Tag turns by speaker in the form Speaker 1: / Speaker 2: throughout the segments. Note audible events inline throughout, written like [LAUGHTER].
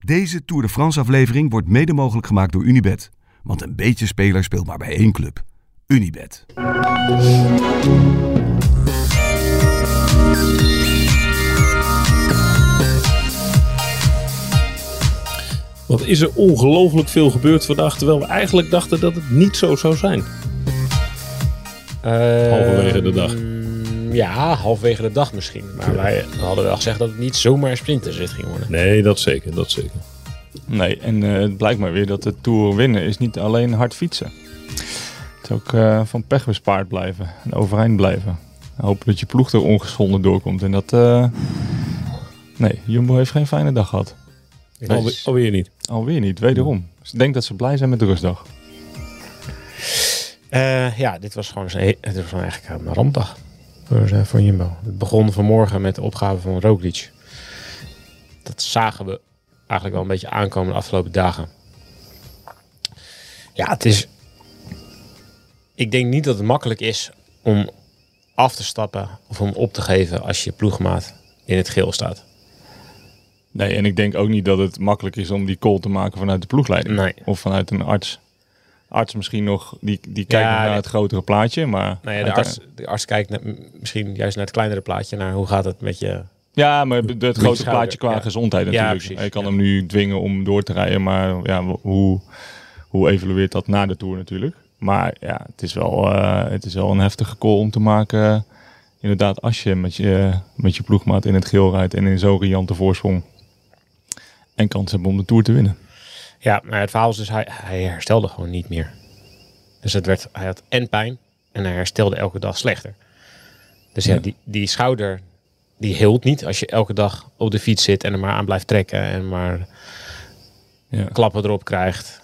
Speaker 1: Deze Tour de France aflevering wordt mede mogelijk gemaakt door Unibet. Want een beetje speler speelt maar bij één club. Unibet.
Speaker 2: Wat is er ongelooflijk veel gebeurd vandaag, terwijl we eigenlijk dachten dat het niet zo zou zijn. Halverwege de dag.
Speaker 3: Mm, Ehm, Ja, halverwege de dag misschien. Maar wij hadden wel gezegd dat het niet zomaar een sprinterzit ging worden.
Speaker 2: Nee, dat zeker, dat zeker.
Speaker 4: Nee, en eh, het blijkt maar weer dat de Tour winnen is niet alleen hard fietsen. Het is ook eh, van pech bespaard blijven en overeind blijven. Hopen dat je ploeg er ongeschonden doorkomt. En dat... eh, nee, Jumbo heeft geen fijne dag gehad.
Speaker 2: Alweer,
Speaker 3: Dus,
Speaker 2: alweer niet.
Speaker 4: Alweer niet, wederom. Dus ik denk dat ze blij zijn met de rustdag.
Speaker 3: Eh, ja, dit was gewoon, eens een- het was gewoon eigenlijk een rampdag voor, eh, voor Jumbo. Het begon vanmorgen met de opgave van Roglic. Dat zagen we eigenlijk wel een beetje aankomen de afgelopen dagen. Ja, het is... Ik denk niet dat het makkelijk is om af te stappen of om op te geven als je ploegmaat in het geel staat.
Speaker 4: Nee, en ik denk ook niet dat het makkelijk is om die call te maken vanuit de ploegleiding.
Speaker 3: Nee.
Speaker 4: Of vanuit een arts. Arts misschien nog, die, die kijkt
Speaker 3: Ja,
Speaker 4: nog naar
Speaker 3: nee.
Speaker 4: het grotere plaatje, maar...
Speaker 3: Nou ja, de, arts, de arts kijkt naar- m- misschien juist naar het kleinere plaatje, naar hoe gaat het met je...
Speaker 4: Ja, maar het het grote
Speaker 3: schouder,
Speaker 4: plaatje qua
Speaker 3: ja.
Speaker 4: gezondheid
Speaker 3: Ja,
Speaker 4: natuurlijk.
Speaker 3: precies,
Speaker 4: je kan
Speaker 3: ja.
Speaker 4: hem nu dwingen om door te rijden, maar ja, w- hoe, hoe evalueert dat na de Tour natuurlijk? Maar ja, het is wel, eh, het is wel een heftige call om te maken. eh, Inderdaad, als je met je, met je ploegmaat in het geel rijdt en in zo'n riante voorsprong. En kans hebben om de Tour te winnen.
Speaker 3: Ja, maar het verhaal is dus, hij, hij herstelde gewoon niet meer. Dus het werd, hij had en pijn en hij herstelde elke dag slechter. Dus ja, die, die schouder, die hield niet als je elke dag op de fiets zit en er maar aan blijft trekken en maar
Speaker 4: Ja.
Speaker 3: klappen erop krijgt.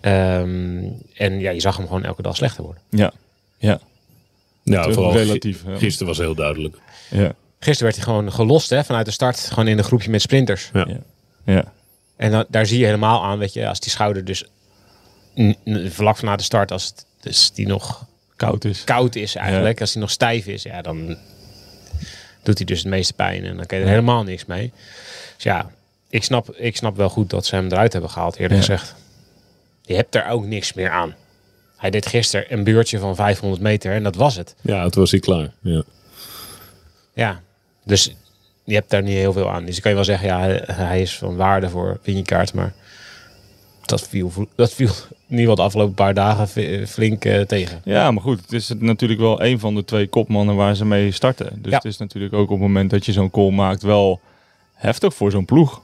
Speaker 3: Ehm, en ja, je zag hem gewoon elke dag slechter worden.
Speaker 4: Ja, ja,
Speaker 2: Ja, vooral
Speaker 4: relatief,
Speaker 2: gi-
Speaker 4: ja.
Speaker 2: Gisteren was heel duidelijk.
Speaker 4: ja,
Speaker 3: Gisteren werd hij gewoon gelost hè, vanuit de start, gewoon in een groepje met sprinters.
Speaker 4: ja.
Speaker 3: En dan, daar zie je helemaal aan, weet je, als die schouder dus n- n- vlak na de start, als het, dus die nog
Speaker 4: Koud is.
Speaker 3: koud is eigenlijk, als hij nog stijf is, ja, dan doet hij dus het meeste pijn en dan kan je er helemaal niks mee. Dus ja, ik snap, ik snap wel goed dat ze hem eruit hebben gehaald, eerlijk
Speaker 4: Ja.
Speaker 3: gezegd. Je hebt er ook niks meer aan. Hij deed gisteren een buurtje van 500 meter en dat was het.
Speaker 2: Ja, het was hij klaar. Ja.
Speaker 3: Ja, dus je hebt daar niet heel veel aan. Dus dan kan je wel zeggen, ja, hij- hij is van waarde voor Vinjekaart, maar dat viel, vlo- dat viel in ieder geval de afgelopen paar dagen fi- flink eh, tegen.
Speaker 4: Ja, maar goed, het is natuurlijk wel een van de twee kopmannen waar ze mee starten. Dus
Speaker 3: Ja.
Speaker 4: het is natuurlijk ook op het moment dat je zo'n call maakt wel heftig voor zo'n ploeg.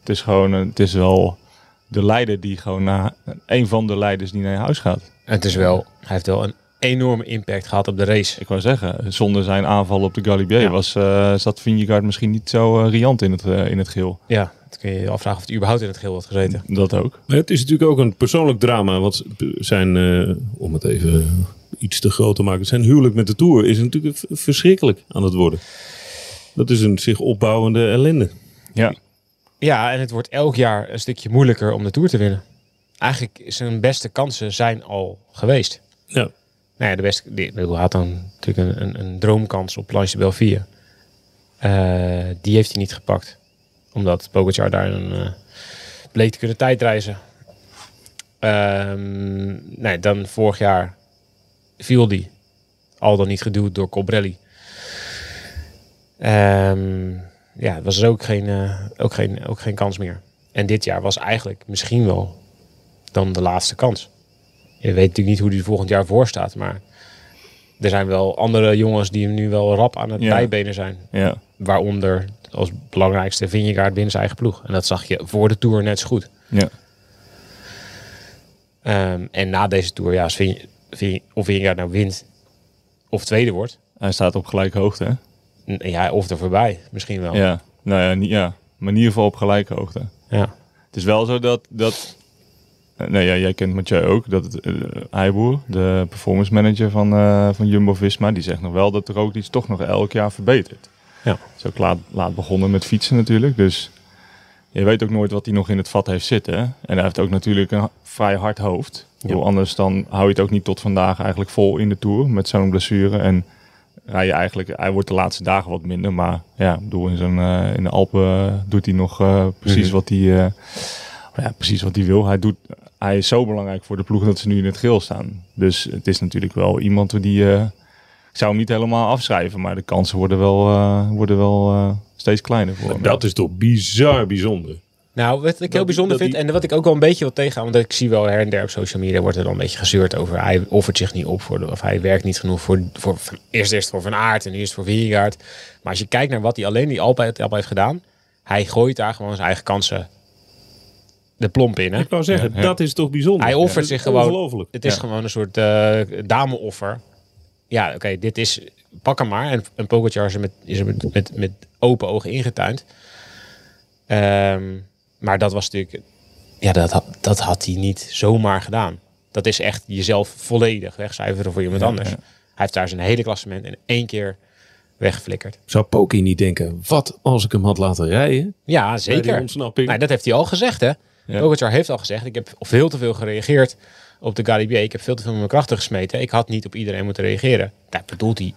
Speaker 4: Het is gewoon, een- het is wel de leider die gewoon naar, een van de leiders die naar huis gaat.
Speaker 3: En het is wel, hij heeft wel een enorme impact gehad op de race.
Speaker 4: Ik wou zeggen, zonder zijn aanval op de Galibier
Speaker 3: Ja.
Speaker 4: was, eh, zat Vingegaard misschien niet zo eh, riant in het, eh, in het geel.
Speaker 3: Ja, dan kun je je afvragen of het überhaupt in het geel had gezeten.
Speaker 4: Dat ook.
Speaker 2: Maar Het is natuurlijk ook een persoonlijk drama. Want zijn, eh, om het even iets te groot te maken, zijn huwelijk met de Tour is natuurlijk v- verschrikkelijk aan het worden. Dat is een zich opbouwende ellende.
Speaker 4: Ja,
Speaker 3: Ja, en het wordt elk jaar een stukje moeilijker om de Tour te winnen. Eigenlijk zijn beste kansen zijn al geweest.
Speaker 2: Ja,
Speaker 3: Nou ja, de beste, die, ik bedoel, hij had dan natuurlijk een, een, een droomkans op Planche de Belvier. Eh, die heeft hij niet gepakt. Omdat Pogacar daar een, eh, bleek te kunnen tijdreizen. Ehm, nee, dan vorig jaar viel die. Al dan niet geduwd door Cobrelli. Ehm, ja, het was dus ook geen, eh, ook, geen, ook geen kans meer. En dit jaar was eigenlijk misschien wel dan de laatste kans. Je weet natuurlijk niet hoe die er volgend jaar voor staat, maar er zijn wel andere jongens die hem nu wel rap aan het
Speaker 4: Ja.
Speaker 3: bijbenen zijn.
Speaker 4: ja.
Speaker 3: Waaronder als belangrijkste Vingegaard binnen zijn eigen ploeg. En dat zag je voor de Tour net zo goed.
Speaker 4: ja.
Speaker 3: Ehm, en na deze Tour, ja, als Vin- Vin- of Vingegaard nou wint of tweede wordt.
Speaker 4: Hij staat op gelijke hoogte, hè?
Speaker 3: n- Ja, of er voorbij misschien wel.
Speaker 4: Ja, nou ja, niet, ja. maar in ieder geval op gelijke hoogte.
Speaker 3: Ja.
Speaker 4: Het is wel zo dat. dat eh, nou ja, jij kent Mathieu ook. Dat eh Eiboer, de performance manager van, eh, van Jumbo Visma, die zegt nog wel dat er ook iets toch nog elk jaar verbetert.
Speaker 3: Ja.
Speaker 4: Is ook laat, laat begonnen met fietsen natuurlijk. Dus je weet ook nooit wat hij nog in het vat heeft zitten. hè. En hij heeft ook natuurlijk een ha- vrij hard hoofd. Ik bedoel, Anders dan hou je het ook niet tot vandaag eigenlijk vol in de Tour met zo'n blessure. En rij je eigenlijk, hij wordt de laatste dagen wat minder. Maar ja, ik bedoel, in, zijn, eh, in de Alpen doet hij nog eh, precies wat hij. eh, ja, precies wat hij wil. Hij, doet, hij is zo belangrijk voor de ploeg dat ze nu in het geel staan. Dus het is natuurlijk wel iemand die. eh, ik zou hem niet helemaal afschrijven, maar de kansen worden wel, eh, worden wel eh, steeds kleiner voor hem.
Speaker 2: Dat is toch bizar bijzonder.
Speaker 3: Nou, wat ik heel bijzonder
Speaker 2: dat
Speaker 3: vind en wat ik ook wel een beetje wat tegenhoud, want ik zie wel her en der op social media wordt er dan een beetje gezeurd over hij offert zich niet op voor de, of hij werkt niet genoeg voor, voor van- eerst eerst voor Van Aert en nu eerst voor Vingegaard. Maar als je kijkt naar wat hij alleen die Alpe, het Alpe heeft gedaan, hij gooit daar gewoon zijn eigen kansen de plomp in. Hè?
Speaker 2: Ik wou zeggen, dat is toch bijzonder.
Speaker 3: Hij offert zich gewoon.
Speaker 2: Ongelooflijk.
Speaker 3: Het is
Speaker 4: Ja.
Speaker 3: gewoon een soort eh dameoffer. Ja, oké, dit is. Pak hem maar. En, en Pogacar is er met, is er met, met, met open ogen ingetuind. Ehm, maar dat was natuurlijk. Ja, dat, had- dat had hij niet zomaar gedaan. Dat is echt jezelf volledig wegcijferen voor iemand anders.
Speaker 4: ja.
Speaker 3: Hij heeft daar zijn hele klassement in één keer weggeflikkerd.
Speaker 2: Zou Poki niet denken, wat als ik hem had laten rijden?
Speaker 3: Ja, zeker.
Speaker 2: die ontsnapping.
Speaker 3: Nee, dat heeft hij al gezegd, hè?
Speaker 4: Ja.
Speaker 3: Pogacar heeft al gezegd, ik heb veel te veel gereageerd op de Galibier. Ik heb veel te veel mijn krachten gesmeten. Ik had niet op iedereen moeten reageren. Daar bedoelt hij.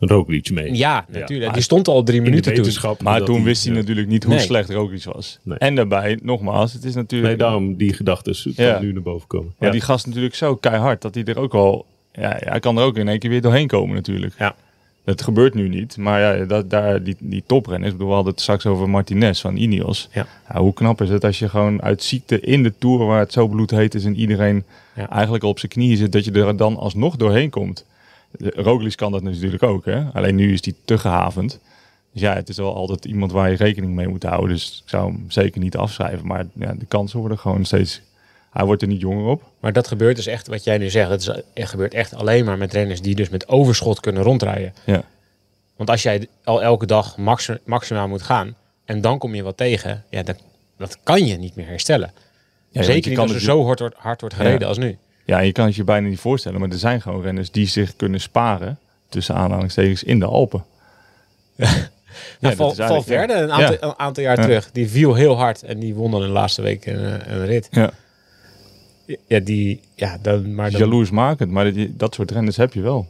Speaker 2: Roglic mee.
Speaker 3: Ja,
Speaker 2: Ja,
Speaker 3: natuurlijk.
Speaker 2: maar
Speaker 3: die stond al drie
Speaker 2: In de
Speaker 3: minuten toen.
Speaker 2: wetenschap.
Speaker 4: Maar
Speaker 2: dat
Speaker 4: toen wist hij
Speaker 2: ja.
Speaker 4: natuurlijk niet hoe
Speaker 3: Nee.
Speaker 4: slecht Roglic was.
Speaker 2: Nee.
Speaker 4: En daarbij, nogmaals, het is natuurlijk...
Speaker 2: Nee, daarom die gedachten
Speaker 4: Ja.
Speaker 2: nu naar boven komen.
Speaker 4: Maar die gast natuurlijk zo keihard dat hij er ook al... Ja, ja, hij kan er ook in één keer weer doorheen komen natuurlijk.
Speaker 3: Ja.
Speaker 4: Dat gebeurt nu niet. Maar ja, dat, daar, die, die toprenners, ik bedoel, we hadden het straks over Martinez van Ineos.
Speaker 3: Ja.
Speaker 4: hoe knap is het als je gewoon uit ziekte in de Tour, waar het zo bloedheet is en iedereen
Speaker 3: Ja.
Speaker 4: eigenlijk al op zijn knieën zit, dat je er dan alsnog doorheen komt. De- Roglic kan dat natuurlijk ook, hè? alleen nu is die te gehavend. Dus ja, het is wel altijd iemand waar je rekening mee moet houden. Dus ik zou hem zeker niet afschrijven. Maar ja, de kansen worden gewoon steeds... Hij wordt er niet jonger op.
Speaker 3: Maar dat gebeurt dus echt, wat jij nu zegt, dat is, er gebeurt echt alleen maar met renners die dus met overschot kunnen rondrijden.
Speaker 4: Ja.
Speaker 3: Want als jij al elke dag max, maximaal moet gaan en dan kom je wat tegen, ja, dat, dat kan je niet meer herstellen.
Speaker 4: want je
Speaker 3: Zeker niet
Speaker 4: kan
Speaker 3: als er
Speaker 4: het-
Speaker 3: zo hard, wordt- hard wordt gereden
Speaker 4: Ja.
Speaker 3: als nu.
Speaker 4: Ja, je kan het je bijna niet voorstellen, maar er zijn gewoon renners die zich kunnen sparen tussen aanhalingstekens in de Alpen.
Speaker 3: Ja,
Speaker 4: dat
Speaker 3: val,
Speaker 4: is eigenlijk-
Speaker 3: Valverde,
Speaker 4: ja.
Speaker 3: een aantal,
Speaker 4: Ja.
Speaker 3: een aantal jaar
Speaker 4: Ja.
Speaker 3: terug, die viel heel hard en die won dan in de laatste week een, eh, een rit.
Speaker 4: Ja.
Speaker 3: Ja, die, ja, dan, maar dan,
Speaker 4: Jaloersmakend, maar dat, dat soort renners heb je wel.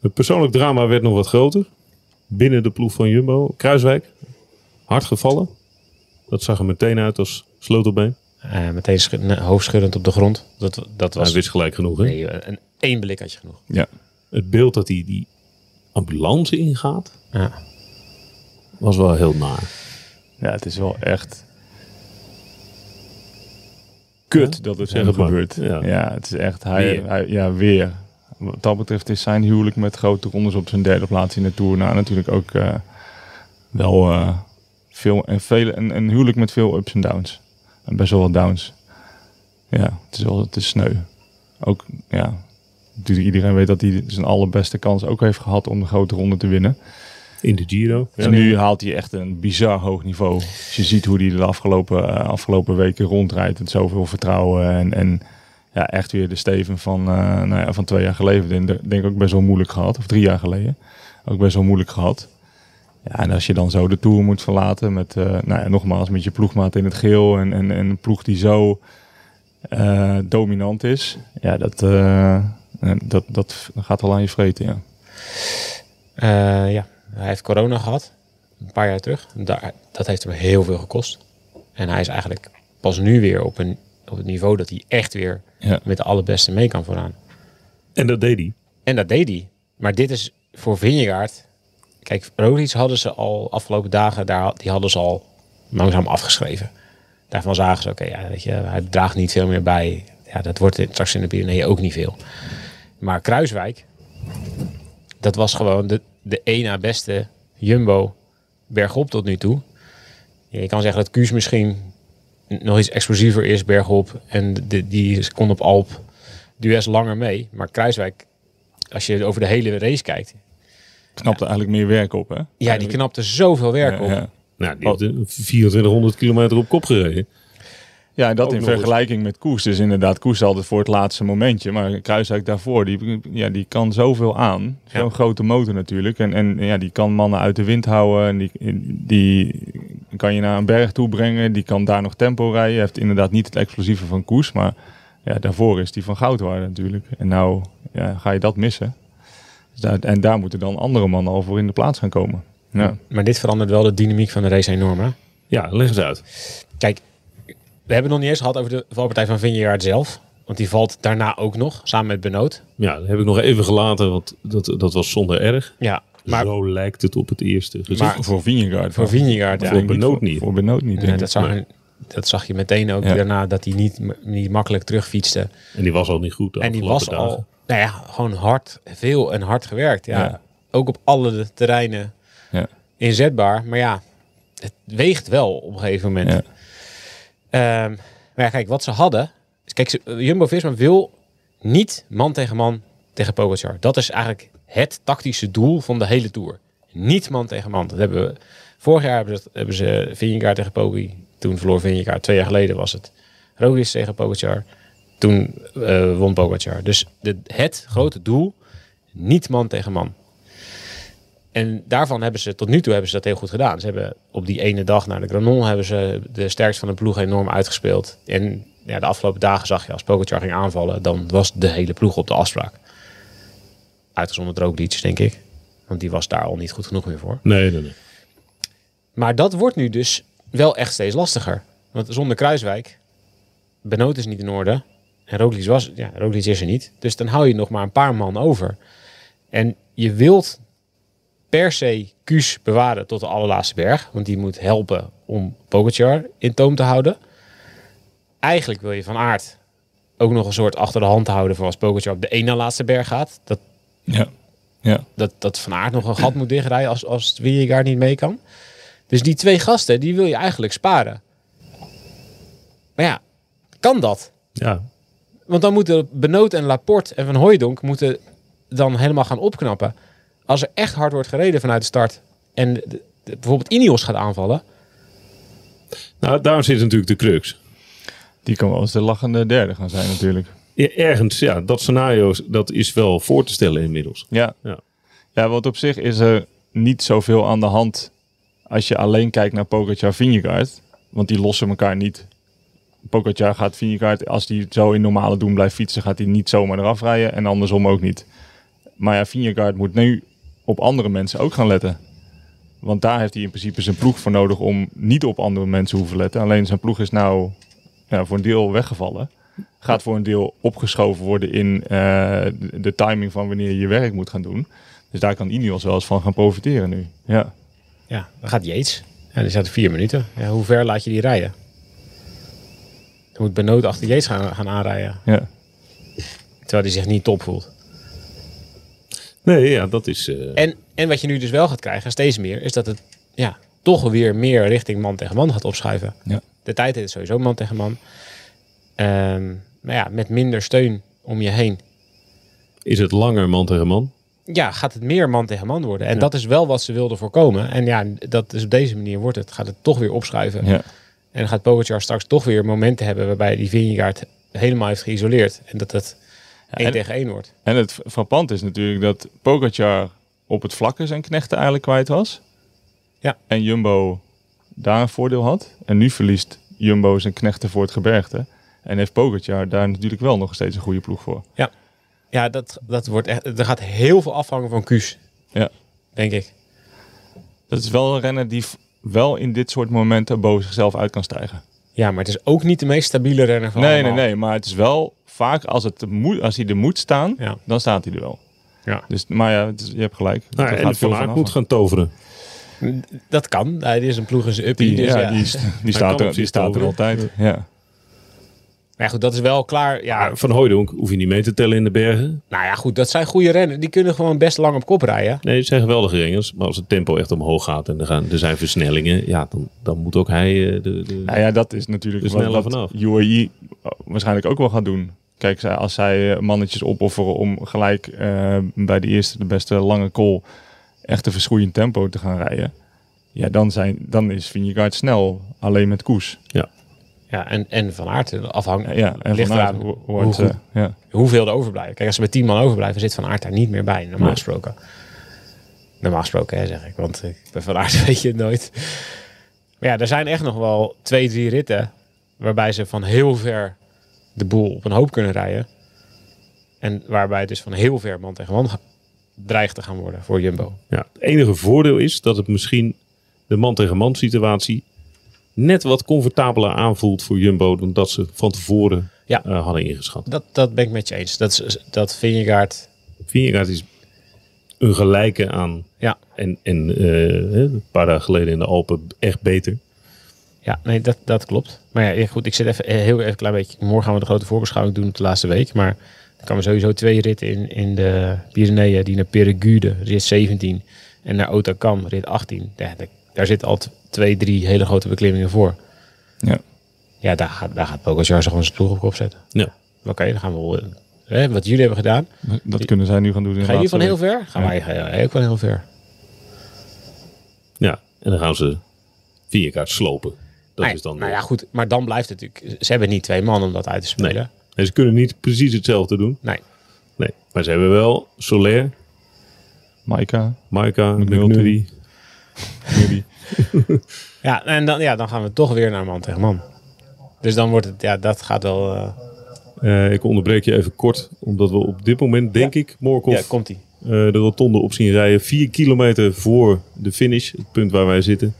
Speaker 2: Het persoonlijk drama werd nog wat groter. Binnen de ploeg van Jumbo. Kruiswijk. Hard gevallen. Dat zag er meteen uit als sleutelbeen.
Speaker 3: eh, meteen schud- nee, hoofdschuddend op de grond. Dat, dat was
Speaker 2: Hij wist gelijk genoeg. Hè?
Speaker 3: nee, een één blik had je genoeg.
Speaker 4: Ja.
Speaker 2: Het beeld dat hij die ambulance ingaat.
Speaker 3: Ja.
Speaker 2: Was wel heel naar.
Speaker 4: ja, het is wel echt kut
Speaker 2: Ja?
Speaker 4: dat het
Speaker 2: Zeg
Speaker 4: hem
Speaker 2: het maar.
Speaker 4: gebeurt.
Speaker 2: Ja.
Speaker 4: Ja. het is echt, hij,
Speaker 2: Weer.
Speaker 4: hij- ja, weer. Wat dat betreft is zijn huwelijk met grote rondes op zijn derde plaats in de Tour nou, natuurlijk ook eh, wel eh, veel, en vele, een, een huwelijk met veel ups en downs. En best wel wat downs. Ja, het is wel het is sneu. Ook, ja, natuurlijk iedereen weet dat hij zijn allerbeste kans ook heeft gehad om de grote ronde te winnen.
Speaker 2: In de Giro. Ja.
Speaker 4: En nu haalt hij echt een bizar hoog niveau. Als je ziet hoe hij de afgelopen, eh, afgelopen weken rondrijdt. Met zoveel vertrouwen. En, en ja, echt weer de Steven van, eh, nou ja, van twee jaar geleden. Denk, denk ook best wel moeilijk gehad. Of drie jaar geleden. Ook best wel moeilijk gehad. Ja, en als je dan zo de Tour moet verlaten. Met, eh, nou ja, nogmaals, met je ploegmaat in het geel. En, en, en een ploeg die zo eh, dominant is. Ja, dat, eh, dat, dat gaat wel aan je vreten, ja.
Speaker 3: Eh, ja, hij heeft corona gehad, een paar jaar terug. Daar, dat heeft hem heel veel gekost. En hij is eigenlijk pas nu weer op, een, op het niveau dat hij echt weer
Speaker 4: Ja.
Speaker 3: met de allerbeste mee kan vooraan.
Speaker 2: En dat deed hij.
Speaker 3: En dat deed hij. Maar dit is voor Vingegaard... Kijk, Roglic hadden ze al afgelopen dagen... Daar, die hadden ze al langzaam afgeschreven. Daarvan zagen ze, oké, ja, weet je, hij draagt niet veel meer bij. Ja, dat wordt in- straks in de Pyreneeën ook niet veel. Maar Kruiswijk... Dat was gewoon de, de één na beste Jumbo bergop tot nu toe. Ja, je kan zeggen dat Kuus misschien nog iets explosiever is bergop. En de, die kon op Alp Dues langer mee. Maar Kruiswijk als je over de hele race kijkt.
Speaker 4: Knapte eigenlijk meer werk op, hè?
Speaker 3: Ja, die knapte zoveel werk op.
Speaker 4: Ja, ja.
Speaker 2: Nou,
Speaker 4: Oh.
Speaker 2: die heeft eh, 2400 kilometer op kop gereden.
Speaker 4: Ja, en dat
Speaker 2: Ook
Speaker 4: in
Speaker 2: nog eens.
Speaker 4: vergelijking met Koes. Dus inderdaad, Koes altijd voor het laatste momentje. Maar Kruiswijk daarvoor, die, ja, die kan zoveel aan. Zo'n grote motor natuurlijk. En, en ja, die kan mannen uit de wind houden. En die, die kan je naar een berg toe brengen. Die kan daar nog tempo rijden. Hij heeft inderdaad niet het explosieve van Koes. Maar ja, daarvoor is die van goud waard natuurlijk. En nou ja, ga je dat missen. Dus daar- en daar moeten dan andere mannen al voor in de plaats gaan komen. Ja.
Speaker 3: Maar dit verandert wel de dynamiek van de race enorm. Hè?
Speaker 2: Ja, leg eens uit.
Speaker 3: Kijk, we hebben het nog niet eens gehad over de valpartij van Vingegaard zelf. Want die valt daarna ook nog, samen met Benoot.
Speaker 2: Ja, dat heb ik nog even gelaten, want dat, dat was zonder erg.
Speaker 3: Ja, maar
Speaker 2: Zo lijkt het op het eerste. Dus
Speaker 3: Maar-
Speaker 4: voor Vingegaard.
Speaker 3: voor Vingegaard, ja.
Speaker 2: Voor
Speaker 4: Ik denk
Speaker 2: Benoot
Speaker 4: voor-
Speaker 2: niet.
Speaker 4: Voor Benoot niet.
Speaker 3: Nee,
Speaker 4: denk
Speaker 3: dat,
Speaker 4: ik.
Speaker 3: zag, dat zag je meteen ook
Speaker 4: Ja.
Speaker 3: daarna, dat hij niet, niet makkelijk terugfietste.
Speaker 2: en die was al niet goed. de
Speaker 3: En die was
Speaker 2: afgelopen dagen.
Speaker 3: al, nou ja, gewoon hard, veel en hard gewerkt. Ja.
Speaker 4: Ja.
Speaker 3: Ook op alle terreinen
Speaker 4: Ja.
Speaker 3: inzetbaar. Maar ja, het weegt wel op een gegeven moment.
Speaker 4: Ja.
Speaker 3: Ehm, maar ja, kijk, wat ze hadden... is- Kijk, ze- Jumbo-Visma wil niet man tegen man tegen Pogacar. Dat is eigenlijk het tactische doel van de hele Tour. Niet man tegen man. Dat hebben we, vorig jaar hebben, ze- hebben ze Vingegaard tegen Poggi. Toen verloor Vingegaard. Twee jaar geleden was het Roglic tegen Pogacar. Toen eh, won Pogacar. Dus de, het grote doel, niet man tegen man. En daarvan hebben ze, tot nu toe hebben ze dat heel goed gedaan. Ze hebben op die ene dag naar de Granon hebben ze de sterkste van de ploeg enorm uitgespeeld. En ja, de afgelopen dagen zag je als Pogacar ging aanvallen, dan was de hele ploeg op de afspraak. Uitgezonderd Roglic, denk ik. Want die was daar al niet goed genoeg meer voor.
Speaker 2: Nee, nee, nee.
Speaker 3: Maar dat wordt nu dus wel echt steeds lastiger. Want zonder Kruiswijk, Benoot is niet in orde. En Roglic, was, ja, Roglic is er niet. Dus dan hou je nog maar een paar man over. En je wilt per se Kuus bewaren tot de allerlaatste berg. Want die moet helpen om Pogacar in toom te houden. Eigenlijk wil je van aard ook nog een soort achter de hand houden... voor als Pogacar op de ene na laatste berg gaat. Dat,
Speaker 4: Ja. Ja.
Speaker 3: dat, dat Van Aert nog een gat moet dichtrijden als, als Wiergaard niet mee kan. Dus die twee gasten, die wil je eigenlijk sparen. Maar ja, kan dat?
Speaker 2: Ja,
Speaker 3: Want dan moeten Benoot en Laporte en Van Hooijdonk moeten dan helemaal gaan opknappen. Als er echt hard wordt gereden vanuit de start en de- de- bijvoorbeeld Ineos gaat aanvallen.
Speaker 2: nou daar zit natuurlijk de crux.
Speaker 4: Die kan wel eens de lachende derde gaan zijn natuurlijk.
Speaker 2: Ja, ergens, ja, dat scenario is- dat is wel voor te stellen inmiddels.
Speaker 4: Ja.
Speaker 2: Ja.
Speaker 4: ja. want op zich is er niet zoveel aan de hand als je alleen kijkt naar Pogacar Vingegaard. Want die lossen elkaar niet. Pogacar gaat Vingegaard, als die zo in normale doen blijft fietsen, gaat hij niet zomaar eraf rijden. En andersom ook niet. Maar ja, Vingegaard moet nu op andere mensen ook gaan letten. Want daar heeft hij in principe zijn ploeg voor nodig om niet op andere mensen hoeven letten. Alleen zijn ploeg is nou ja, voor een deel weggevallen. Gaat voor een deel opgeschoven worden in eh, de- de timing van wanneer je je werk moet gaan doen. Dus daar kan Ineos wel eens van gaan profiteren nu. Ja,
Speaker 3: Ja, dan gaat Yates. Ja, die staat vier minuten. Ja, hoe ver laat je die rijden? Dan moet Benoot achter Yates gaan, gaan aanrijden.
Speaker 4: ja.
Speaker 3: Terwijl hij zich niet top voelt.
Speaker 2: Nee, ja, dat is... eh,
Speaker 3: En, en wat je nu dus wel gaat krijgen, steeds meer, is dat het ja, toch weer meer richting man tegen man gaat opschuiven.
Speaker 4: Ja.
Speaker 3: De tijd is sowieso man tegen man. Ehm, maar ja, met minder steun om je heen.
Speaker 2: is het langer man tegen man?
Speaker 3: Ja, gaat het meer man tegen man worden. En dat is wel wat ze wilden voorkomen. En ja, dat is op deze manier wordt het. Gaat het toch weer opschuiven.
Speaker 4: ja.
Speaker 3: En dan gaat Pogacar straks toch weer momenten hebben waarbij die Vingegaard helemaal heeft geïsoleerd. En dat het één
Speaker 4: en-
Speaker 3: tegen één wordt.
Speaker 4: En het frappant is natuurlijk dat Pogacar op het vlakke zijn knechten eigenlijk kwijt was.
Speaker 3: Ja.
Speaker 4: En Jumbo daar een voordeel had. En nu verliest Jumbo zijn knechten voor het gebergte. En heeft Pogacar daar natuurlijk wel nog steeds een goede ploeg voor.
Speaker 3: Ja, dat, dat wordt echt. Er gaat heel veel afhangen van Kuus,
Speaker 4: Ja.
Speaker 3: denk ik.
Speaker 4: Dat is wel een renner die v- wel in dit soort momenten boven zichzelf uit kan stijgen.
Speaker 3: Ja, maar het is ook niet de meest stabiele renner van
Speaker 4: Nee, nee,
Speaker 3: allemaal.
Speaker 4: nee. Maar het is wel vaak als, het de moe- als hij er moet staan,
Speaker 3: Ja.
Speaker 4: dan staat hij er wel.
Speaker 3: Ja.
Speaker 4: Dus, maar ja, het is- je hebt gelijk.
Speaker 2: Nou,
Speaker 4: Er
Speaker 2: ja, en
Speaker 4: gaat veel
Speaker 2: Van
Speaker 4: van
Speaker 2: Aert
Speaker 4: af.
Speaker 2: moet gaan toveren.
Speaker 3: Dat kan. Hij is een ploeg in zijn uppie.
Speaker 4: Die,
Speaker 3: dus
Speaker 4: ja,
Speaker 3: ja,
Speaker 4: die, st- die
Speaker 2: kan
Speaker 4: staat, er,
Speaker 2: op
Speaker 4: die
Speaker 2: zich
Speaker 4: staat er
Speaker 2: toveren.
Speaker 4: altijd. Ja.
Speaker 3: Maar goed, dat is wel klaar. Ja,
Speaker 2: Ah, Van Hooijdonk hoef je niet mee te tellen in de bergen.
Speaker 3: nou ja, goed. Dat zijn goede renners. Die kunnen gewoon best lang op kop rijden.
Speaker 2: Nee, het zijn geweldige rengers. Maar als het tempo echt omhoog gaat en er, gaan, er zijn versnellingen... Ja, dan, dan moet ook hij... eh, de, de...
Speaker 4: Nou ja, dat is natuurlijk
Speaker 2: Dus
Speaker 4: wat,
Speaker 2: sneller
Speaker 4: wat
Speaker 2: vanaf.
Speaker 4: UAE oh, waarschijnlijk ook wel gaat doen. Kijk, zij- als zij eh, mannetjes opofferen om gelijk eh, bij de eerste, de beste lange call echt een verschroeiend tempo te gaan rijden. Ja, dan, zijn, dan is Vingegaard snel, alleen met koers.
Speaker 3: Ja, en, en Van Aert afhangt.
Speaker 4: Ja, en
Speaker 3: Ligt
Speaker 4: vanuit
Speaker 3: eraan
Speaker 4: hoe, hoe
Speaker 3: hoe
Speaker 4: hard
Speaker 3: goed.
Speaker 4: ze- eh, ja.
Speaker 3: Hoeveel er overblijven. Kijk, als ze met tien man overblijven, zit Van Aert daar niet meer bij. Normaal
Speaker 2: Nee.
Speaker 3: gesproken. Normaal gesproken, hè, zeg ik. Want ik ben Van Aert [LAUGHS] weet je het nooit. Maar ja, er zijn echt nog wel twee, drie ritten... waarbij ze van heel ver de boel op een hoop kunnen rijden. En waarbij het dus van heel ver man tegen man dreigt te gaan worden voor Jumbo.
Speaker 2: Ja, het enige voordeel is dat het misschien de man-tegen-man situatie net wat comfortabeler aanvoelt voor Jumbo dan dat ze van tevoren
Speaker 3: Ja.
Speaker 2: eh, hadden ingeschat.
Speaker 3: Dat, dat ben ik met je eens. Dat, is- dat Vingegaard,
Speaker 2: Vingegaard is een gelijke aan
Speaker 3: ja,
Speaker 2: en, en eh, hè, een paar dagen geleden in de Alpen echt beter.
Speaker 3: Ja, nee, dat, dat klopt. Maar ja, goed, ik zit even eh, heel even een klein beetje. Morgen gaan we de grote voorbeschouwing doen op de laatste week. Maar dan kan we sowieso twee ritten in, in de Pyreneeën. Die naar Perigude, rit 17. En naar Otakam, rit 18. Ja, daar, daar zitten al t- twee, drie hele grote beklimmingen voor.
Speaker 4: Ja.
Speaker 3: Ja, daar gaat, daar gaat Pogacar zich gewoon zijn ploeg op kop zetten.
Speaker 2: Ja.
Speaker 3: Oké, dan gaan we wel... eh, Hè, wat jullie hebben gedaan.
Speaker 4: Dat kunnen zij nu gaan doen. in de
Speaker 3: Ga je
Speaker 4: laatste
Speaker 3: van heel
Speaker 4: week.
Speaker 3: ver? Gaan
Speaker 4: Ja.
Speaker 3: wij eh, ook wel heel ver.
Speaker 2: ja, en dan gaan ze Vingegaard slopen. Dat
Speaker 3: Nee,
Speaker 2: is dan
Speaker 3: nou ja, goed. Maar dan blijft het natuurlijk... Ze hebben niet twee man om dat uit te
Speaker 2: nee.
Speaker 3: spelen.
Speaker 2: En ze kunnen niet precies hetzelfde doen.
Speaker 3: Nee.
Speaker 2: Nee, maar ze hebben wel Soler,
Speaker 4: Maika.
Speaker 2: Maika,
Speaker 4: McNulty.
Speaker 2: McNulty.
Speaker 4: Nibali.
Speaker 3: Ja, en dan, ja, dan gaan we toch weer naar man tegen man. Dus dan wordt het, ja, dat gaat wel. eh,
Speaker 2: Eh, ik onderbreek je even kort, omdat we op dit moment, denk ik, Morkov
Speaker 3: ja, komt ie.
Speaker 2: eh, de rotonde op zien rijden. Vier kilometer voor de finish, het punt waar wij zitten.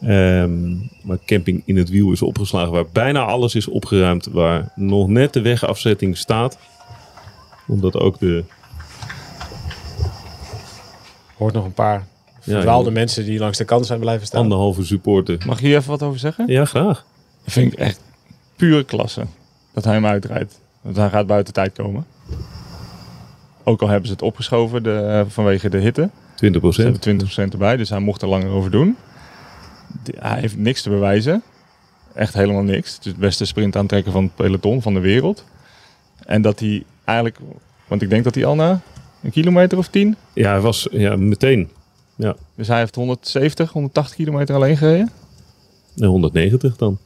Speaker 2: Ehm, maar camping in het wiel is opgeslagen, waar bijna alles is opgeruimd. Waar nog net de wegafzetting staat. Omdat ook de...
Speaker 3: Hoort nog een paar verdwaalde mensen die langs de kant zijn blijven staan.
Speaker 2: Anderhalve supporter.
Speaker 4: Mag ik hier even wat over zeggen?
Speaker 2: Ja, graag.
Speaker 4: Dat vind ik echt pure klasse. Dat hij hem uitrijdt. Want hij gaat buiten tijd komen. Ook al hebben ze het opgeschoven de, eh, vanwege de hitte.
Speaker 2: 20
Speaker 4: Ze hebben 20% erbij, dus hij mocht er langer over doen. De- hij heeft niks te bewijzen. Echt helemaal niks. Het is het beste sprint aantrekken van het peloton, van de wereld. En dat hij eigenlijk... Want ik denk dat hij al na een kilometer of tien...
Speaker 2: Ja, hij was ja, meteen. Ja,
Speaker 4: Dus hij heeft 170, 180 kilometer alleen gereden.
Speaker 2: en 190 dan.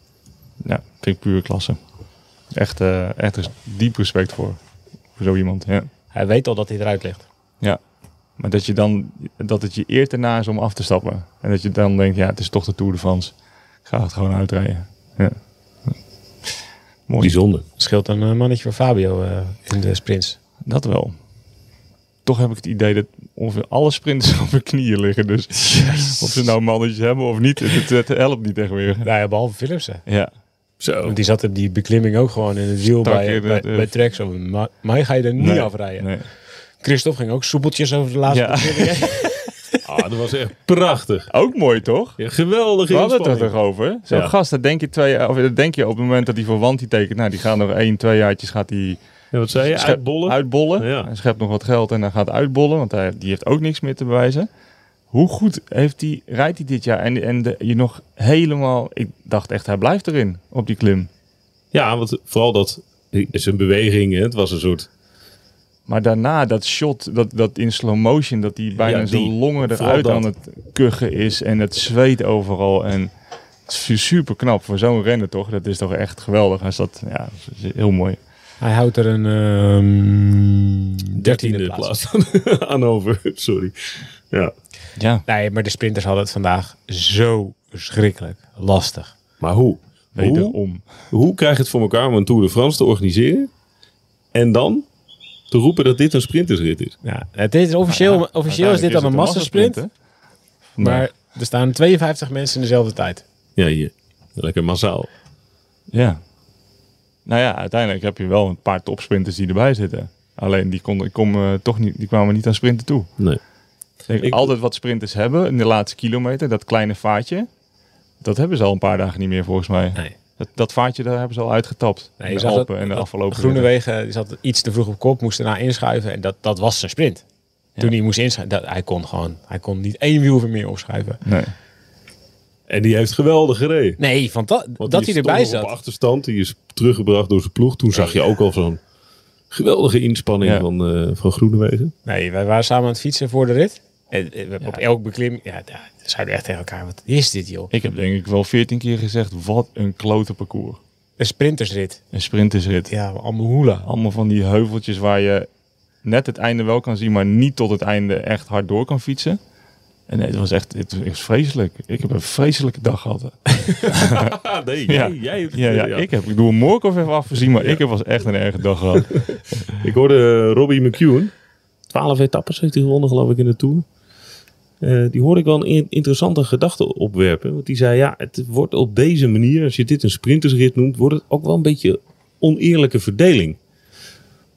Speaker 4: Ja, vind ik puur klasse. Echt, eh, echt res- diep respect voor, voor zo iemand. Ja.
Speaker 3: Hij weet al dat hij eruit ligt.
Speaker 4: Maar dat, je dan, dat het je eer te na is om af te stappen. En dat je dan denkt, ja, het is toch de Tour de France. Ik ga het gewoon uitrijden. Ja. Mooi.
Speaker 2: Bijzonder.
Speaker 3: Scheelt een eh, mannetje voor Fabio eh, in de sprints.
Speaker 4: Dat wel. Toch heb ik het idee dat ongeveer alle sprinters [LAUGHS] op hun knieën liggen. Dus of ze nou mannetjes hebben of niet, het, het, het helpt niet echt weer.
Speaker 3: Nou ja, behalve Philipsen.
Speaker 4: Ja,
Speaker 2: Zo.
Speaker 3: Want die zat op die beklimming ook gewoon in het wiel
Speaker 4: Strak
Speaker 3: bij,
Speaker 4: in
Speaker 3: bij,
Speaker 4: het, eh,
Speaker 3: bij Trek. Zo, maar, maar ga je er niet
Speaker 4: Nee,
Speaker 3: afrijden.
Speaker 4: nee.
Speaker 3: Christophe ging ook soepeltjes over de laatste
Speaker 4: Ja.
Speaker 3: beklimming.
Speaker 2: Ah, dat was echt prachtig.
Speaker 4: [LAUGHS] Ook mooi toch?
Speaker 2: Ja, geweldige
Speaker 4: We hadden het er
Speaker 2: inspanning.
Speaker 4: toch over? Zo'n
Speaker 2: Ja.
Speaker 4: gast, dat denk, je twee, of, dat denk je op het moment dat hij voor Wanti tekent. Nou, die gaat nog één, twee jaartjes gaat die
Speaker 2: Ja, wat zei je?
Speaker 4: schep-
Speaker 2: Uitbollen?
Speaker 4: uitbollen.
Speaker 2: Ja.
Speaker 4: Hij schept nog wat geld en dan gaat uitbollen. Want hij, die heeft ook niks meer te bewijzen. Hoe goed heeft die, rijdt hij dit jaar? En, en de- je nog helemaal... Ik dacht echt, hij blijft erin op die klim.
Speaker 2: Ja, want vooral dat dus zijn bewegingen, het was een soort.
Speaker 4: Maar daarna, dat shot, dat, dat in slow motion, dat hij bijna
Speaker 2: Ja, die.
Speaker 4: zijn longen
Speaker 2: Vooral
Speaker 4: eruit
Speaker 2: dat.
Speaker 4: aan het kuchen is. En het zweet overal. En het is super knap voor zo'n renner toch? Dat is toch echt geweldig. Hij zat, ja, dat is heel mooi.
Speaker 3: Hij houdt er een ehm, dertiende
Speaker 2: dertiende plaats aan [LAUGHS] over. Sorry. Ja.
Speaker 4: Ja,
Speaker 3: Nee, maar de sprinters hadden het vandaag zo verschrikkelijk lastig.
Speaker 2: Maar hoe? Hoe,
Speaker 4: wederom.
Speaker 2: hoe krijg je het voor elkaar om een Tour de France te organiseren en dan te roepen dat dit een sprintersrit is?
Speaker 3: Ja, het is officieel,
Speaker 4: Nou
Speaker 3: officieel is dit dan een massasprint, maar er staan 52 mensen in dezelfde tijd.
Speaker 2: Ja, hier. Lekker massaal.
Speaker 4: Ja. Nou ja, uiteindelijk heb je wel een paar topsprinters die erbij zitten. Alleen die, konden, kom, toch niet, die kwamen niet aan sprinten toe.
Speaker 2: Nee.
Speaker 4: Kijk,
Speaker 2: Ik-
Speaker 4: altijd wat sprinters hebben in de laatste kilometer, dat kleine vaatje. Dat hebben ze al een paar dagen niet meer volgens mij.
Speaker 3: Nee.
Speaker 4: Dat, dat vaartje daar hebben ze al uitgetapt.
Speaker 3: Nee,
Speaker 4: in
Speaker 3: je
Speaker 4: de
Speaker 3: zag
Speaker 4: Alpen
Speaker 3: dat-
Speaker 4: en de
Speaker 3: dat
Speaker 4: afgelopen winter.
Speaker 3: Groenewegen die zat iets te vroeg op kop, moest daarna inschuiven en dat, dat was zijn sprint. Toen hij moest inschuiven, dat, hij kon gewoon, hij kon niet één wiel meer opschuiven.
Speaker 4: Nee.
Speaker 2: En die heeft geweldig gereden.
Speaker 3: Nee, van dat
Speaker 2: Want
Speaker 3: dat
Speaker 2: die
Speaker 3: hij erbij
Speaker 2: stond nog
Speaker 3: zat.
Speaker 2: op achterstand, die is teruggebracht door zijn ploeg. Toen zag je ook al zo'n geweldige inspanning
Speaker 4: Ja.
Speaker 2: van, eh, van Groenewegen.
Speaker 3: Nee, wij waren samen aan het fietsen voor de rit. En, eh, we- Op elk beklim, ja, daar zeiden we echt tegen elkaar, wat is dit joh?
Speaker 4: Ik heb denk ik wel veertien keer gezegd, wat een klote parcours.
Speaker 3: Een sprintersrit.
Speaker 4: Een sprintersrit.
Speaker 3: Ja, allemaal hoela.
Speaker 4: Allemaal van die heuveltjes waar je net het einde wel kan zien, maar niet tot het einde echt hard door kan fietsen. En nee, het was echt het was vreselijk. Ik heb een vreselijke dag gehad.
Speaker 2: Ah, [LAUGHS] nee,
Speaker 4: Ja.
Speaker 2: jij, jij hebt-
Speaker 4: Ja, ja, ik heb, ik doe een Morkov even afgezien, maar ik heb was echt een erge dag gehad.
Speaker 2: Ik hoorde eh, Robbie McEwen, 12 etappes heeft hij gewonnen, geloof ik, in de Tour. Eh, die hoorde ik wel een in- interessante gedachte opwerpen. Want die zei, ja, het wordt op deze manier, als je dit een sprintersrit noemt, wordt het ook wel een beetje oneerlijke verdeling.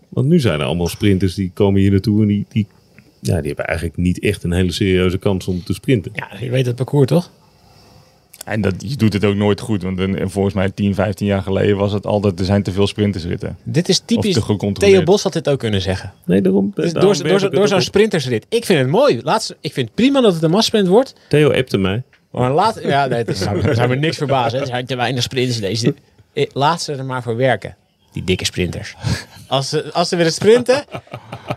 Speaker 2: Want nu zijn er allemaal sprinters die komen hier naartoe en die, die, ja, die hebben eigenlijk niet echt een hele serieuze kans om te sprinten.
Speaker 3: Ja, je weet het parcours toch?
Speaker 4: En dat, je doet het ook nooit goed. Want een- volgens mij 10, 15 jaar geleden was het altijd... er zijn te veel sprintersritten.
Speaker 3: Dit is
Speaker 4: te
Speaker 3: typisch.
Speaker 4: gecontroleerd.
Speaker 3: Theo Bos had dit ook kunnen zeggen.
Speaker 2: Nee, daarom.
Speaker 3: Dus
Speaker 2: daarom
Speaker 3: door
Speaker 2: werp
Speaker 3: door,
Speaker 2: ik het
Speaker 3: door,
Speaker 2: ook
Speaker 3: zo'n
Speaker 2: op.
Speaker 3: sprintersrit. Ik vind het mooi. Laatst, ik vind het prima dat het een massasprint wordt.
Speaker 2: Theo appte mij.
Speaker 3: Maar laat, ja, nee, het is- zou, me- zou me niks verbazen. hè. Er zijn te weinig sprinters in deze. Eh, Laat ze er maar voor werken. Die dikke sprinters. Als ze, als ze willen sprinten,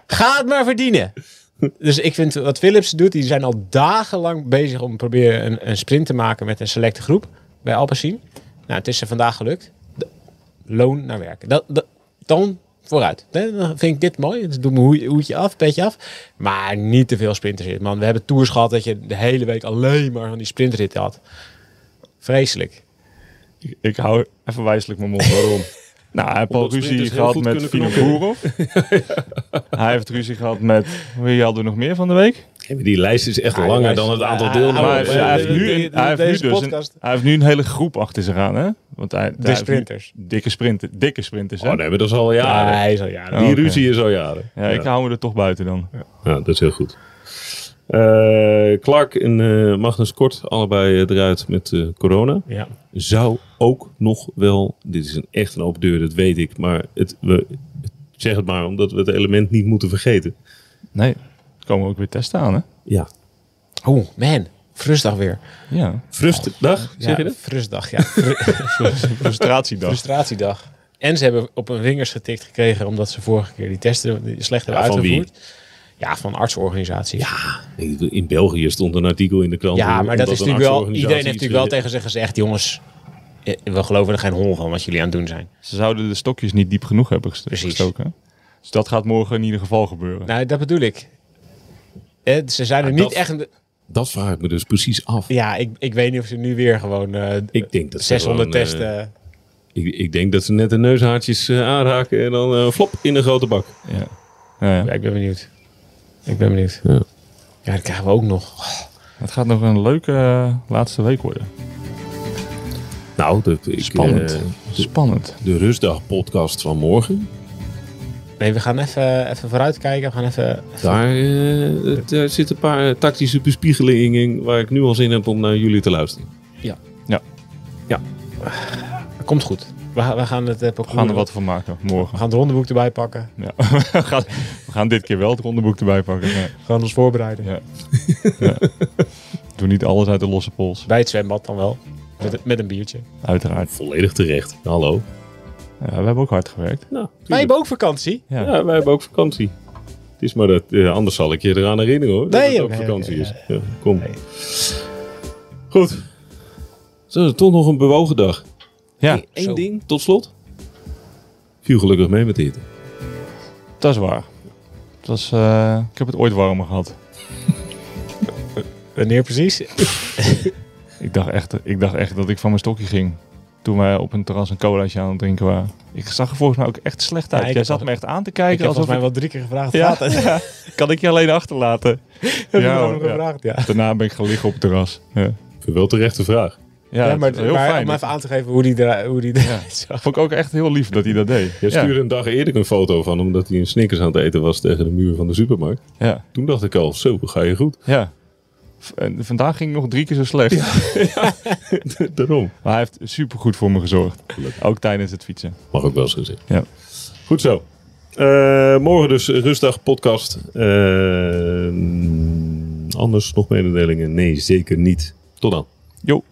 Speaker 3: ga het maar verdienen. Dus ik vind wat Philips doet, die zijn al dagenlang bezig om te proberen een, een sprint te maken met een selecte groep bij Alpecin. Nou, het is ze vandaag gelukt. De- loon naar werken. Dat, dat, dan vooruit. Nee, Dan vind ik dit mooi. Dus doe mijn hoe- hoedje af, petje af. Maar niet te veel sprinters in. Man, we hebben tours gehad dat je de hele week alleen maar van die sprintritten had. Vreselijk.
Speaker 4: Ik hou even wijselijk mijn mond. Waarom?
Speaker 2: [LAUGHS]
Speaker 4: nou, hij heeft al
Speaker 2: Omdat
Speaker 4: ruzie
Speaker 2: sprinters heel
Speaker 4: gehad
Speaker 2: goed
Speaker 4: met
Speaker 2: kunnen
Speaker 4: Fino
Speaker 2: knokken.
Speaker 4: Boerhoff.
Speaker 2: [LAUGHS]
Speaker 4: Hij heeft ruzie gehad met... Wie hadden we nog meer van de week?
Speaker 2: Ja, maar Die lijst is echt
Speaker 3: Ja, die
Speaker 2: langer
Speaker 3: lijst-
Speaker 2: dan het aantal
Speaker 3: Oh, Ja,
Speaker 2: deelnemers.
Speaker 4: Maar hij
Speaker 3: maar
Speaker 4: heeft- hij heeft
Speaker 3: de-
Speaker 4: nu
Speaker 3: de-
Speaker 4: een- hij heeft
Speaker 3: deze
Speaker 4: nu dus een-
Speaker 3: podcast.
Speaker 4: hij heeft nu een hele groep achter zich aan, hè? Want hij, hij heeft nu
Speaker 3: sprinters.
Speaker 4: Dikke sprinter, dikke sprinters, hè?
Speaker 2: Oh nee, maar dat is al
Speaker 3: Ja,
Speaker 2: jaren.
Speaker 3: hij is al jaren.
Speaker 2: Die
Speaker 4: oké.
Speaker 2: ruzie is al jaren.
Speaker 4: Ja, ik hou me er toch buiten dan.
Speaker 2: Ja, dat is heel goed. Eh, Clark en eh, Magnus Kort, allebei eh, eruit met eh, corona.
Speaker 3: Ja.
Speaker 2: Zou ook nog wel, dit is een echt een open deur, dat weet ik. Maar het, we, zeg het maar, omdat we het element niet moeten vergeten.
Speaker 4: Nee, er komen ook weer testen aan, hè?
Speaker 2: Ja.
Speaker 3: Oh man, frustdag weer.
Speaker 4: Ja.
Speaker 2: Frustdag, zeg je dat?
Speaker 3: Frustdag, ja. Fru-
Speaker 4: Frustratiedag.
Speaker 3: Frustratiedag. En ze hebben op hun vingers getikt gekregen omdat ze vorige keer die testen die slecht hebben
Speaker 2: Ja, van
Speaker 3: uitgevoerd. Ja, van artsorganisaties.
Speaker 2: Ik bedoel, In België stond een artikel in de krant.
Speaker 3: Ja, maar
Speaker 2: omdat
Speaker 3: dat is
Speaker 2: een
Speaker 3: natuurlijk wel.
Speaker 2: artsorganisatie
Speaker 3: Iedereen heeft natuurlijk wel
Speaker 2: iets-
Speaker 3: tegen ze gezegd, jongens. eh, We geloven er geen hol van wat jullie aan het doen zijn.
Speaker 4: Ze zouden de stokjes niet diep genoeg hebben gesto-
Speaker 3: Precies.
Speaker 4: gestoken. hè? Dus dat gaat morgen in ieder geval gebeuren.
Speaker 3: Nou, dat bedoel ik. Eh, ze zijn er
Speaker 2: Maar
Speaker 3: niet
Speaker 2: dat-
Speaker 3: echt. een-
Speaker 2: Dat vraag ik me dus precies af.
Speaker 3: Ja, ik, ik weet niet of ze nu weer gewoon eh,
Speaker 2: Ik denk dat ze
Speaker 3: 600
Speaker 2: gewoon, eh,
Speaker 3: testen.
Speaker 2: Ik, ik denk dat ze net de neushaartjes eh, aanraken en dan eh, flop in een grote bak.
Speaker 4: Ja. Ja,
Speaker 3: ja,
Speaker 4: ja.
Speaker 3: ik ben benieuwd. Ik ben benieuwd. Ja, dat krijgen we ook nog.
Speaker 4: Het gaat nog een leuke eh, laatste week worden.
Speaker 2: Nou, dat, ik,
Speaker 4: Spannend.
Speaker 2: eh, de,
Speaker 4: Spannend.
Speaker 2: de rustdag podcast van morgen.
Speaker 3: Nee, we gaan even, even vooruitkijken. We gaan even.
Speaker 2: Daar, eh, daar zitten een paar tactische bespiegelingen in waar ik nu al zin heb om naar jullie te luisteren.
Speaker 3: Komt goed. We, gaan- we gaan het eh,
Speaker 4: We
Speaker 3: parcours-
Speaker 4: gaan er wat van maken
Speaker 3: We
Speaker 4: morgen.
Speaker 3: gaan het rondeboek erbij pakken.
Speaker 4: Ja. [LAUGHS] we, gaan, we gaan dit keer wel het rondeboek erbij pakken. Ja.
Speaker 3: We gaan ons voorbereiden.
Speaker 4: Ja. Doe niet alles uit de losse pols.
Speaker 3: Bij het zwembad dan wel. Met, met een biertje.
Speaker 4: Uiteraard.
Speaker 2: Volledig terecht. Hallo.
Speaker 4: Ja, we hebben ook hard gewerkt.
Speaker 2: Nou, tuurlijk.
Speaker 3: Wij hebben ook vakantie.
Speaker 4: Ja.
Speaker 2: ja, wij hebben ook vakantie. Het is maar dat, eh, anders zal ik je eraan herinneren hoor. dat
Speaker 3: Nee,
Speaker 2: het ook
Speaker 3: oké,
Speaker 2: vakantie
Speaker 3: oké,
Speaker 2: is. Ja, kom.
Speaker 3: Nee.
Speaker 2: Goed. Zo, toch nog een bewogen dag.
Speaker 4: Ja,
Speaker 2: Eén- één
Speaker 3: zo.
Speaker 2: ding, tot slot. Viel gelukkig mee met dit.
Speaker 4: dat is waar. Het was, eh, ik heb het ooit warmer gehad.
Speaker 3: Wanneer precies?
Speaker 4: Ik dacht, echt, ik dacht echt dat ik van mijn stokje ging. Toen wij op een terras een colaatje aan het drinken waren. Ik zag er volgens mij ook echt slecht uit.
Speaker 3: ik
Speaker 4: Jij
Speaker 3: heb
Speaker 4: zat
Speaker 3: al-
Speaker 4: me echt aan te
Speaker 3: Ik
Speaker 4: kijken
Speaker 3: heb volgens
Speaker 4: alsof
Speaker 3: mij wel
Speaker 4: ik...
Speaker 3: drie keer gevraagd.
Speaker 4: Ja,
Speaker 3: Gaat het?
Speaker 4: ja. kan ik je alleen achterlaten?
Speaker 3: Ja,
Speaker 4: Ja,
Speaker 3: ja,
Speaker 4: hoor, ja.
Speaker 3: gevraagd, ja.
Speaker 4: Daarna ben ik gaan liggen op het terras. Ja,
Speaker 2: Ik vind wel terecht de vraag.
Speaker 4: ja,
Speaker 3: Ja, maar,
Speaker 4: het is heel
Speaker 3: maar
Speaker 4: fijn.
Speaker 3: om even aan te geven hoe die eruit hoe die [LAUGHS] eruit zag.
Speaker 4: Vond ik ook echt heel lief dat hij dat deed.
Speaker 2: Jij stuurde een dag eerder een foto van omdat hij een Snickers aan het eten was tegen de muur van de supermarkt.
Speaker 4: Ja,
Speaker 2: Toen dacht ik al, zo ga je goed. [LAUGHS]
Speaker 4: ja. V- en vandaag ging het nog drie keer zo slecht.
Speaker 2: Daarom.
Speaker 4: Maar hij heeft supergoed voor me gezorgd. Ook tijdens het fietsen.
Speaker 2: Mag ook wel eens gezegd.
Speaker 4: Ja.
Speaker 2: Goed zo. Eh, morgen dus rustdag podcast. Eh, anders nog mededelingen? Nee, zeker niet. Tot dan.
Speaker 4: Jo.